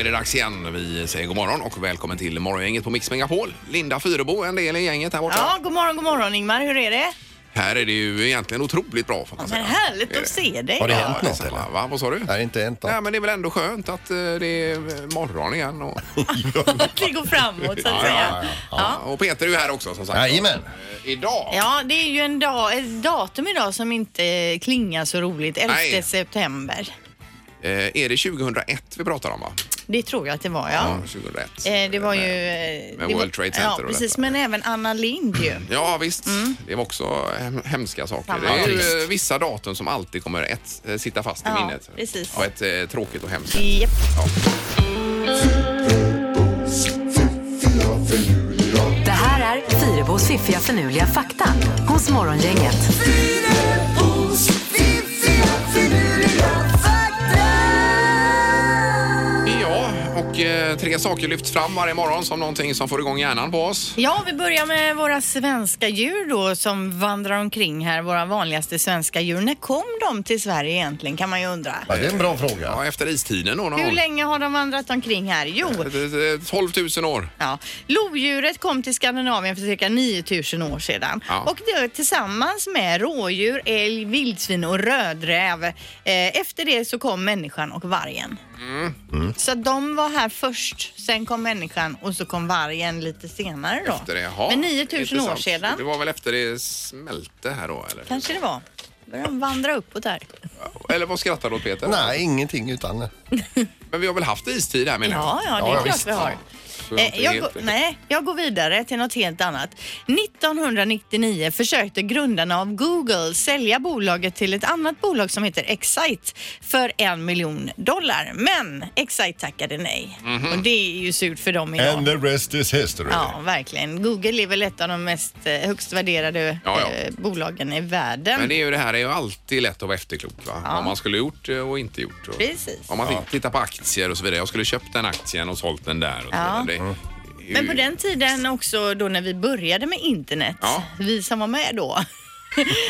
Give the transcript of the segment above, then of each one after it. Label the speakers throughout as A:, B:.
A: är det dags igen. Vi säger god morgon och välkommen till Morgongänget på Mix Megapol. Linda Fyrebo, en del i gänget här borta.
B: Ja, god morgon, god morgon Ingmar. Hur är det?
A: Här är det ju egentligen otroligt bra får man
B: Men
A: säga.
B: härligt
A: Är
B: att se dig.
C: Har det
B: då.
C: hänt något
A: detsamma,
C: eller?
A: Va? Vad sa du?
C: Nej, inte hänt något.
A: Nej, men det är väl ändå skönt att eh, det är morgon igen. Och,
B: Att det går framåt så
A: Ja,
B: att
A: ja,
B: säga.
A: ja. och Peter är ju här också som sagt.
C: Jajamän.
A: Eh, Idag.
B: Ja, det är ju en dag, ett datum idag som inte klingar så roligt. 11
A: Nej.
B: september.
A: Eh, är det 2001 vi pratar om va?
B: Det tror jag att det var, ja.
A: Ja, 2001.
B: Eh, Det var ju... eh,
A: med
B: det
A: World Trade Center
B: var,
A: och
B: Ja,
A: detta.
B: precis. Men även Anna Lind ju.
A: Ja visst,
B: Mm.
A: det var också hem- hemska saker.
B: Fan,
A: det
B: vad
A: är ju
C: trist.
A: eh, vissa datum som alltid kommer ett, eh, sitta fast i
B: Ja,
A: minnet.
B: precis.
A: Och ett eh, tråkigt och hemskt.
B: Japp.
D: Det här är Fyrabos fiffiga förnuliga fakta hos Morgongänget.
A: Ja, och eh, tre saker lyfts fram varje morgon som någonting som får igång hjärnan på oss.
B: Ja, vi börjar med våra svenska djur då som vandrar omkring här. Våra vanligaste svenska djur. När kom de till Sverige egentligen kan man ju undra.
C: Ja, det är en bra fråga.
A: Ja, efter istiden då någon
B: Hur
A: gång.
B: länge har de vandrat omkring här? Jo,
A: Eh, eh, 12 000 år.
B: Ja. Lodjuret kom till Skandinavien för cirka 9000 år sedan
A: Ja.
B: och det, tillsammans med rådjur, älg, vildsvin och rödräv. Eh, efter det så kom människan och vargen.
A: Mm.
C: Mm.
B: Så att de var här först, sen kom människan och så kom vargen lite senare då.
A: Efter det. Jaha,
B: Men 9000 år
A: intressant.
B: sedan
A: Det var väl efter det smälte här då eller?
B: kanske det var. Började de vandra uppåt där.
A: Eller vad skrattar du åt Peter?
C: Nej, ingenting utan...
A: Men vi har väl haft istid här menar jag?
B: Ja, ja, det
C: Ja,
B: är
C: ja,
B: klart
C: visst.
B: vi har.
A: Så
B: Eh,
A: inte
B: Jag
A: helt-
B: går, nej, jag går vidare till något helt annat. 1999 försökte grundarna av Google sälja bolaget till ett annat bolag som heter Excite för en miljon dollar. Men Excite tackade nej.
A: Mhm.
B: Och det är ju surt för dem idag.
C: the rest is history.
B: Ja, verkligen. Google är väl ett av de mest eh, högst värderade
A: Ja, ja.
B: eh, bolagen i världen.
A: Men det är ju det här är ju alltid lätt att vara efterklok va? Vad man skulle gjort eh, och inte gjort. Och...
B: Precis.
A: Om man t- tittar på aktier och så vidare. Jag skulle köpt den aktien och sålt den där. Och så
B: Ja.
A: vidare. Det- det är ju-
B: Men på den tiden också då när vi började med internet,
A: Ja.
B: vi som var med då.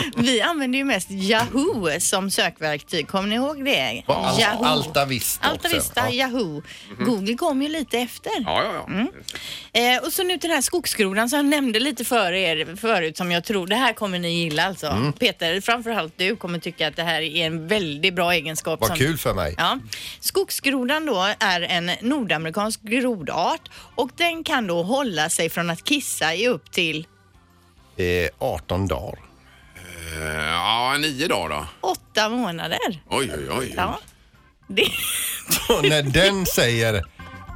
B: vi använde ju mest Yahoo som sökverktyg. Kommer ni ihåg det?
C: Al-
B: Yahoo.
C: Alta Vista
B: Alta
C: också.
B: Vista,
C: Ja. Mhm.
B: Yahoo. Google kom ju lite efter.
A: Ja, ja, ja.
B: Eh, och så nu till den här skogsgrodan som jag nämnde lite för er förut som jag tror, det här kommer ni gilla alltså.
C: Mm.
B: Peter, framförallt du kommer tycka att det här är en väldigt bra egenskap.
C: Vad
B: som...
C: kul för mig.
B: Ja. Skogsgrodan då är en nordamerikansk grodart och den kan då hålla sig från att kissa i upp till
C: Eh, 18 dagar.
A: Eh, ja, nio dagar då.
B: åtta månader.
A: Oj, oj, oj.
B: Ja. Det,
C: Och när den säger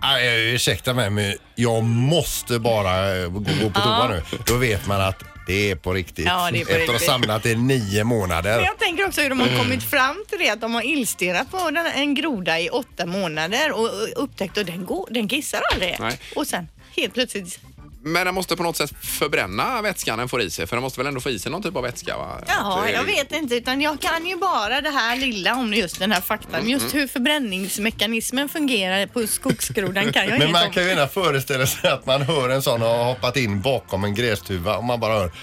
C: "Aj, eh, ursäkta mig men jag måste bara eh, gå, gå på toa nu. Då vet man att det är på riktigt.
B: Ja, det är på
C: Efter att
B: riktigt.
C: ha samlat i nio månader.
B: jag tänker också hur de har kommit fram till det att de har illstirrat på den, en groda i åtta månader och och upptäckt att den, går, den kissar aldrig.
A: Nej.
B: Och sen helt plötsligt,
A: Men den måste på något sätt förbränna vätskan den får i sig. För den måste väl ändå få i sig någon typ av vätska? Va?
B: ja
A: Det-
B: jag vet inte utan jag kan ju bara det här lilla om just den här
C: Mm,
B: faktan. Just hur förbränningsmekanismen fungerar på skogsgrodan kan jag
C: Men
B: inget
C: man
B: om.
C: kan ju gärna föreställa sig att man hör en sån ha hoppat in bakom en grästuva och man bara hör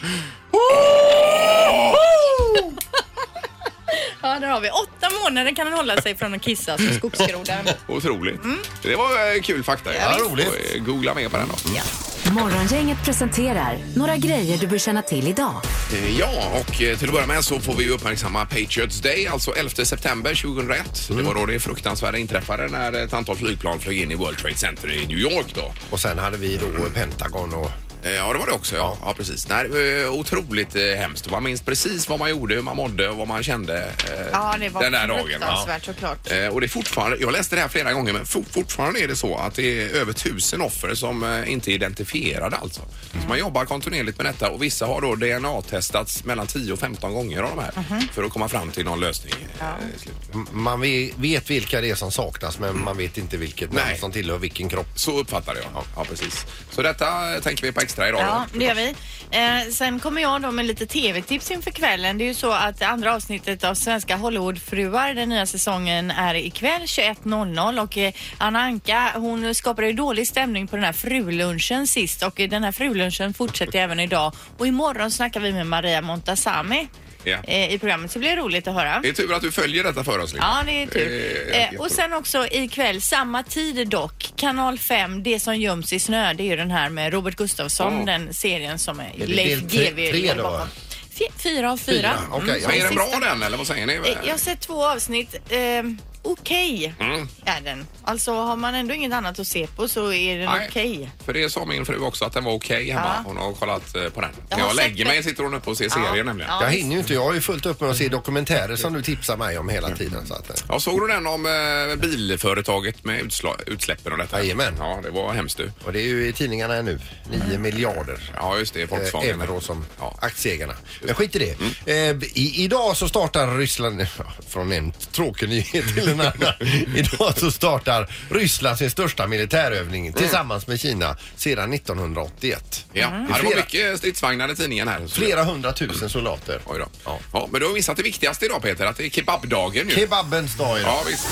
B: Ja, där har vi. Åtta månader kan den hålla sig från att kissa som skogsgrodan.
A: Otroligt. Det var eh, kul fakta.
B: Mm. Ja,
C: visst.
A: Och, eh, Googla mer på den då.
B: Ja.
D: Morgongänget presenterar några grejer du bör känna till idag.
A: Eh, Ja, och eh, till att börja med så får vi ju uppmärksamma Patriots Day, alltså 11 september 2001. Det var då det fruktansvärda inträffade när ett antal flygplan flög in i World Trade Center i New York då.
C: Och sen hade vi då Pentagon och
A: Eh, Ja, det var det också. Ja, ja precis. Nej, eh, otroligt eh, hemskt. Man minns precis vad man gjorde, hur man mådde och vad man kände eh,
B: Ja, det var
A: den där dagen.
B: fruktansvärt såklart.
A: Eh, Och det är fortfarande, jag läste det här flera gånger, men for, fortfarande är det så att det är över tusen offer som eh, inte är identifierade alltså. Så man jobbar kontinuerligt med detta och vissa har då DNA-testats mellan 10 och 15 gånger av de här
B: Mhm.
A: för att komma fram till någon lösning. eh, i slutet.
C: M- Man ve- vet vilka det är som saknas men man vet inte vilket
A: Nej.
C: namn som tillhör vilken kropp.
A: Så uppfattar jag. Ja, precis. Så detta eh, tänker vi på extra idag.
B: Ja,
A: då.
B: det gör vi. Eh, sen kommer jag då med lite tv-tips inför kvällen. Det är ju så att det andra avsnittet av Svenska Hollywoodfruar, den nya säsongen, är ikväll 21.00 och eh, Anna Anka hon skapade ju dålig stämning på den här frulunchen sist och eh, den här frulunchen fortsätter även idag och imorgon snackar vi med Maria Montazami.
A: Ja.
B: eh, i programmet så blir det roligt att höra.
A: Det är tur att du följer detta för oss. Linda.
B: Ja, det är tur.
A: Eh,
B: Eh, och sen också ikväll, samma tid dock, kanal 5, Det som göms i snö, det är ju den här med Robert Gustafsson,
A: Ja.
B: den serien som är
C: det
B: Leif
C: del tre-
B: GW
C: tre
B: ligger
C: då?
B: bakom. Fy- Fyra av fyra.
C: Fyra, okej, ja.
A: Men är den bra
B: Sista-
A: den eller vad säger ni?
B: Eh, Jag har sett två avsnitt. Ehm, okej
A: Mm.
B: är den. Alltså har man ändå inget annat att se på så är den
A: Nej,
B: okej.
A: För det sa min fru också att den var okej hemma.
B: Ja.
A: Hon har kollat eh, på den.
B: Jag
A: När
B: har
A: jag
B: sett
A: lägger
B: den.
A: mig sitter hon uppe och ser
B: Ja.
A: serier nämligen.
B: Ja. Mm.
A: Ja.
C: Jag hinner ju inte. Jag har ju fullt upp med att se dokumentärer som du tipsar mig om hela tiden. Så att, eh,
A: såg du den om eh, bilföretaget med utsla- utsläppen och detta?
C: Jajamän.
A: Ja, det var hemskt du.
C: och det är ju i tidningarna nu. 9 miljarder.
A: Mm. Ja, just det.
C: eh,
A: Volkswagen.
C: euro som
A: Ja. Mm.
C: aktieägarna. Men skit i det. Eh, i, idag så startar Ryssland, från en tråkig nyhet till en annan. idag så startar Ryssland sin största militärövning tillsammans med Kina sedan 1981.
A: Mm. Ja.
C: Det är
A: ja, det var
C: flera,
A: mycket stridsvagnar i tidningen här.
C: flera hundratusen soldater.
A: Oj då. Ja.
C: Ja.
A: men du har missat det viktigaste idag Peter, att det är kebabdagen ju.
C: Kebabens dag idag.
A: Ja, visst.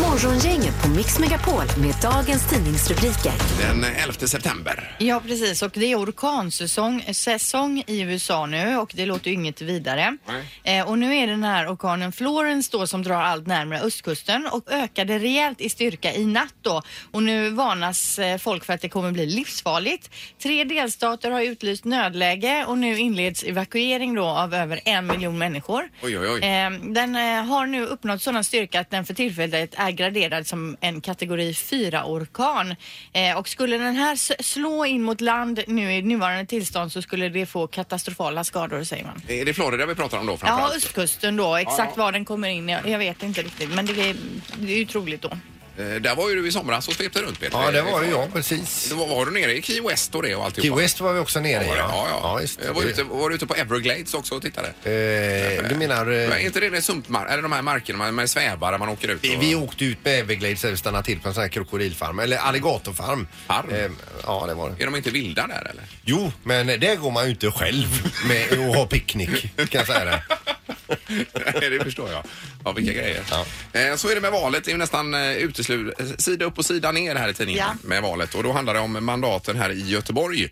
D: Morgongänget på Mix Megapol med dagens tidningsrubriker.
A: Den 11 september.
B: Ja, precis. Och det är orkansäsong säsong i USA nu och det låter ju inget vidare.
A: Nej.
B: Eh, och nu är den här orkanen Florence då som drar allt närmare östkusten och ökade rejält i styrka i natt då. Och nu varnas eh, folk för att det kommer bli livsfarligt. Tre delstater har utlyst nödläge och nu inleds evakuering då av över en miljon människor.
A: Oj, oj, oj.
B: Eh, den eh, har nu uppnått sådan styrka att den för tillfället är graderad som en kategori 4-orkan. Eh, och skulle den här s- slå in mot land nu i nuvarande tillstånd så skulle det få katastrofala skador säger man.
A: Är det Florida vi pratar om då
B: Ja,
A: framförallt?
B: östkusten då. Exakt
A: Ja.
B: var den kommer in, jag, jag vet inte riktigt. Men det är, det är ju troligt då.
A: Eh, Där var ju du i somras och svepte runt Peter.
C: Ja, det var ju jag precis.
A: Då var, var du nere i Key West och det och alltihopa?
C: Key West var vi också nere i.
A: Ja, ja. ja.
C: just
A: jag var, ute, var du ute på Everglades också och tittade?
C: Eh, du menar... eh,
A: Men är inte det, det sumpmark, eller de här markerna med, med svävare man åker ut?
C: Vi,
A: och-
C: vi åkte ut med Everglades och stannade till på en sån här krokodilfarm, eller alligatorfarm. Eh,
A: Farm?
C: ja, det var det.
A: Är de inte vilda där eller?
C: Jo, men där går man ju inte själv med och har picknick, kan jag säga det.
A: Nej, det förstår jag. Ja, vilka grejer.
C: Ja.
A: Eh, Så är det med valet. Det är ju nästan uteslutet. Sida upp och sida ner här i tidningen
B: Ja.
A: med valet. Och då handlar det om mandaten här i Göteborg.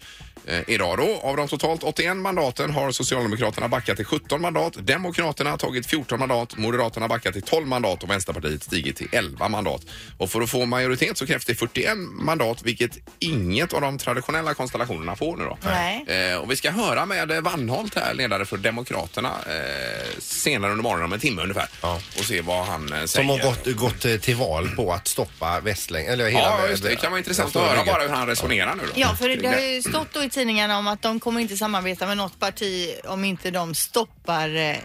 A: eh, Idag då. Av de totalt 81 mandaten har Socialdemokraterna backat till 17 mandat. Demokraterna har tagit 14 mandat. Moderaterna har backat till 12 mandat och Vänsterpartiet stigit till 11 mandat. Och för att få majoritet så krävs det 41 mandat, vilket inget av de traditionella konstellationerna får nu då.
B: Nej.
A: Eh, och vi ska höra med eh, Wannholt här, ledare för Demokraterna, eh, senare under morgonen, om en timme ungefär.
C: Ja.
A: Och se vad han eh, säger.
C: Som har gått, gått eh, till val på att stoppa Västläng, eller hela...
A: Ja, just det. Det kan vara intressant att höra bara hur han resonerar nu då.
B: Ja, för det har
A: Kring
B: ju stått då i tidningarna om att de kommer inte samarbeta med något parti om inte de stoppar eh, eh,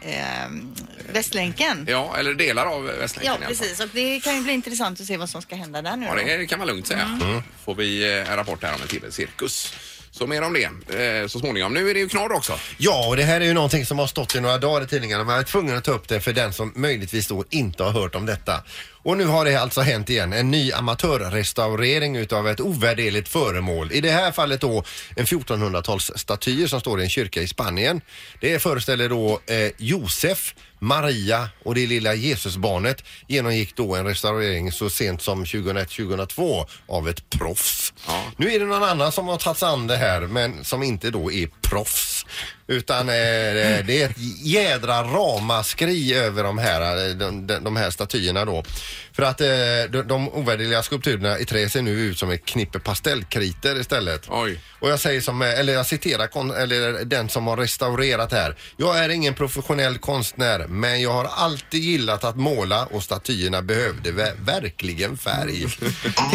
B: Västlänken.
A: det. Ja, eller delar av Västlänken
B: Ja,
A: i alla fall.
B: precis. Och det kan ju bli intressant att se vad som ska hända där nu.
A: Ja,
B: då.
A: det kan man lugnt säga.
B: Mm.
A: Får vi eh, en rapport här om en timme, cirkus. Så mer om det eh, så småningom. Nu är det ju knorr också.
C: Ja, och det här är ju någonting som har stått i några dagar i tidningarna men jag är tvungen att ta upp det för den som möjligtvis då inte har hört om detta. Och nu har det alltså hänt igen, en ny amatörrestaurering utav ett ovärderligt föremål. I det här fallet då en 1400-talsstatyer som står i en kyrka i Spanien. Det föreställer då eh, Josef, Maria och det lilla Jesusbarnet genomgick då en restaurering så sent som 2001-2002 av ett proffs. Nu är det någon annan som har tagit sig an det här men som inte då är proffs. Utan eh, det är ett jädra ramaskri över de här, eh, de, de, de här statyerna då. För att eh, de, de ovärderliga skulpturerna i trä ser nu ut som ett knippe pastellkriter istället.
A: Oj.
C: Och jag säger som, eh, eller jag citerar kon, eller den som har restaurerat här. Jag är ingen professionell konstnär men jag har alltid gillat att måla och statyerna behövde ver- verkligen färg.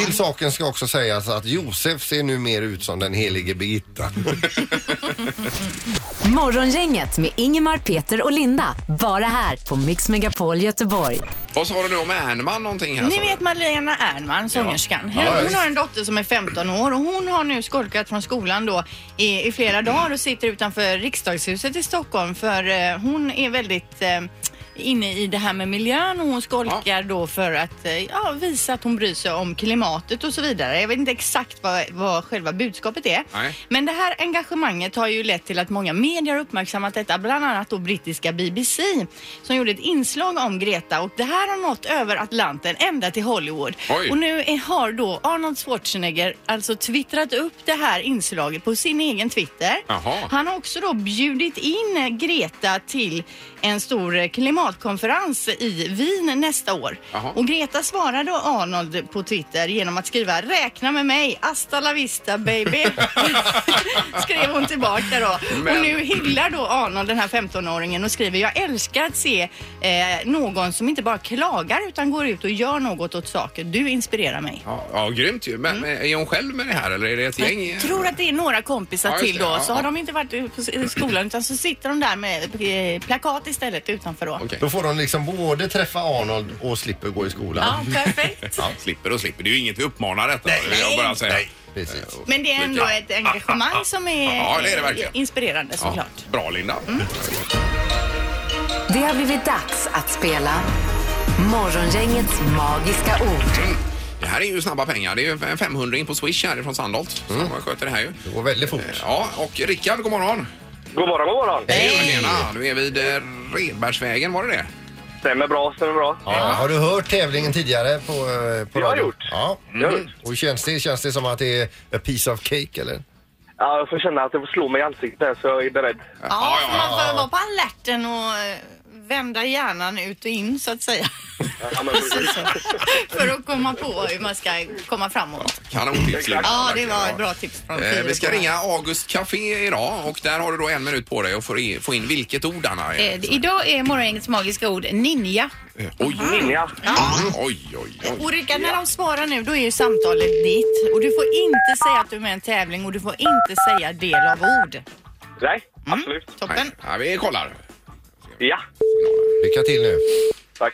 C: Till saken ska också sägas att Josef ser nu mer ut som den helige Birgitta.
D: Morgongänget med Ingemar, Peter och Linda. Bara här på Mix Megapol Göteborg.
A: Vad sa du nu om Ernman någonting här?
B: Ni
A: sa du?
B: vet Malena Ernman, sångerskan.
A: alltså. Ja,
B: Hon
A: visst.
B: har en dotter som är 15 år och hon har nu skolkat från skolan då i, i flera dagar och sitter utanför riksdagshuset i Stockholm för eh, hon är väldigt eh, inne i det här med miljön och hon skolkar
A: Ja.
B: då för att eh, ja, visa att hon bryr sig om klimatet och så vidare. Jag vet inte exakt vad, vad själva budskapet är.
A: Nej.
B: Men det här engagemanget har ju lett till att många medier har uppmärksammat detta, bland annat då brittiska BBC som gjorde ett inslag om Greta och det här har nått över Atlanten ända till Hollywood.
A: Oj.
B: Och nu är, har då Arnold Schwarzenegger alltså twittrat upp det här inslaget på sin egen Twitter.
A: Jaha.
B: Han har också då bjudit in Greta till en stor eh, klimatkonferens i Wien nästa år.
A: Jaha.
B: Och Greta svarade Arnold på Twitter genom att skriva “Räkna med mig, hasta la vista baby” skrev hon tillbaka då.
A: Men-
B: Och nu hyllar då Arnold den här 15-åringen och skriver “Jag älskar att se eh, någon som inte bara klagar utan går ut och gör något åt saker. Du inspirerar mig.”
A: Ja, ja grymt ju. Men eh, är hon själv med det här eller är det ett gäng?
B: Jag Mm. tror att det är några kompisar
A: Ja, just
B: till
A: det,
B: då.
A: ja,
B: så
A: ja.
B: har de inte varit ute på s- i skolan utan så sitter de där med eh, plakat istället utanför då.
A: Okej.
C: Då får de liksom både träffa Arnold och slipper gå i skolan.
B: Ja, perfekt.
A: Ja, slipper och slipper. Det är ju inget vi uppmanar detta.
B: Nej.
A: jag bara säger.
C: Nej, precis.
B: Men det är ändå ett engagemang som är,
A: Ja, det är det verkligen.
B: inspirerande
A: Ja,
B: såklart. Mm.
A: Bra Linda.
D: Det har blivit dags att spela Morgongängets magiska ord.
A: Det här är ju snabba pengar. Det är ju en 500 in på Swish här ifrån Sandholt som sköter det här ju.
C: Det går väldigt fort.
A: Ja, och Rickard, god morgon.
E: God morgon, god morgon.
A: Hej! Tjena, du är vid eh, Redbergsvägen, var det det?
E: Stämmer bra, stämmer bra.
C: Ja. Har du hört tävlingen tidigare på, eh, på
E: Det
C: radio?
E: har jag gjort.
C: Ja. Mm.
E: Jag har gjort.
C: Och hur känns det? Känns det som att det är a piece of cake eller?
E: Ja, jag får känna att det får slå mig i ansiktet här, så jag är beredd.
B: Ja, för man får vara på alerten och eh, vända hjärnan ut och in så att säga.
E: Ja, men precis.
B: liksom. För att komma på hur man ska komma framåt.
A: Kanontips Linda.
B: Ja, det var ett bra tips från
A: Eh, vi ska
B: Fyrebåda.
A: ringa August Café idag och där har du då en minut på dig att få, i, få in vilket ord Anna.
F: Eh, Idag är morgongängets magiska ord ninja.
A: Eh, Oj,
E: Ninja.
A: oj, oj, oj.
B: Och Rickard, när de svarar nu, då är ju samtalet ditt. Och du får inte säga att du är med i en tävling och du får inte säga del av ord. Mm.
E: Nej, absolut.
A: Nej,
B: Toppen.
A: ja, vi kollar.
E: Ja,
C: Lycka till nu.
E: tack.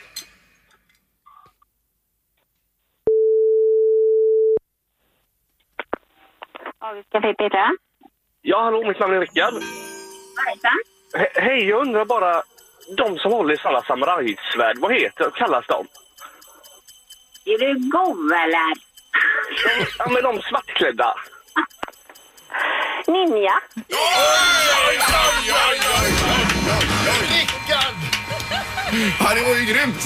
G: Augustcafé Petra.
E: Ja, hallå, mitt namn är Rickard.
G: Hejsan.
E: He- hej, jag undrar bara, de som håller i sådana samurajsvärd, vad heter, kallas de?
G: Är du god eller?
E: Ja, men de svartklädda.
G: Ninja.
C: Rickard!
A: Ja, det var ju grymt!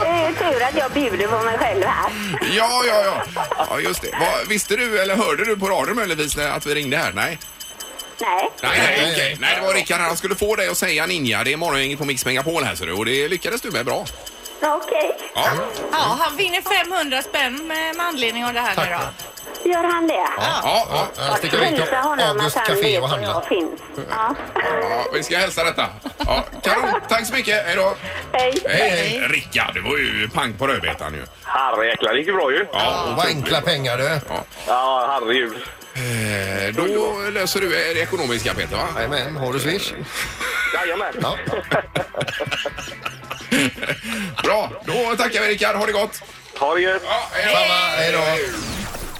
G: Det är tur att jag bjuder på mig själv här.
A: Ja, ja, ja. ja just det. Vad- visste du eller hörde du på radion möjligtvis när- att vi ringde här? Nej.
G: Nej.
A: Nej, nej,
C: Nej.
A: okej. Nej, det var Rickard. Han skulle få dig att säga ninja. Det är morgongänget på Mix Megapol här ser du. Och det lyckades du med bra.
G: Okej.
A: Ja.
B: Ja, han vinner 500 spänn med, med anledning av det här nu då.
G: Gör han det?
A: Ja, ja.
C: Ja, stick iväg till
G: Hälsa honom
C: August
G: att han
C: Café
G: vet
C: och
G: var
C: handla.
G: jag finns. Ja.
A: ja vi ska hälsa detta. Ja, kanon. Tack så mycket. Hej då.
G: Hej.
A: Hej, hej. Rickard, det var ju pang på rödbetan ju.
E: Herrejäklar, det gick ju bra ju.
A: Ja,
C: Vad enkla pengar du.
E: Ja, herregud.
A: eh, då löser du eh, det ekonomiska Peter va?
C: Jajamän, har du swish?
E: Jajamän.
C: Ja.
A: Bra, då tackar vi Rickard. Ha det gott.
E: Ha det gött.
A: Ja, hej då.
C: Samma, hej då.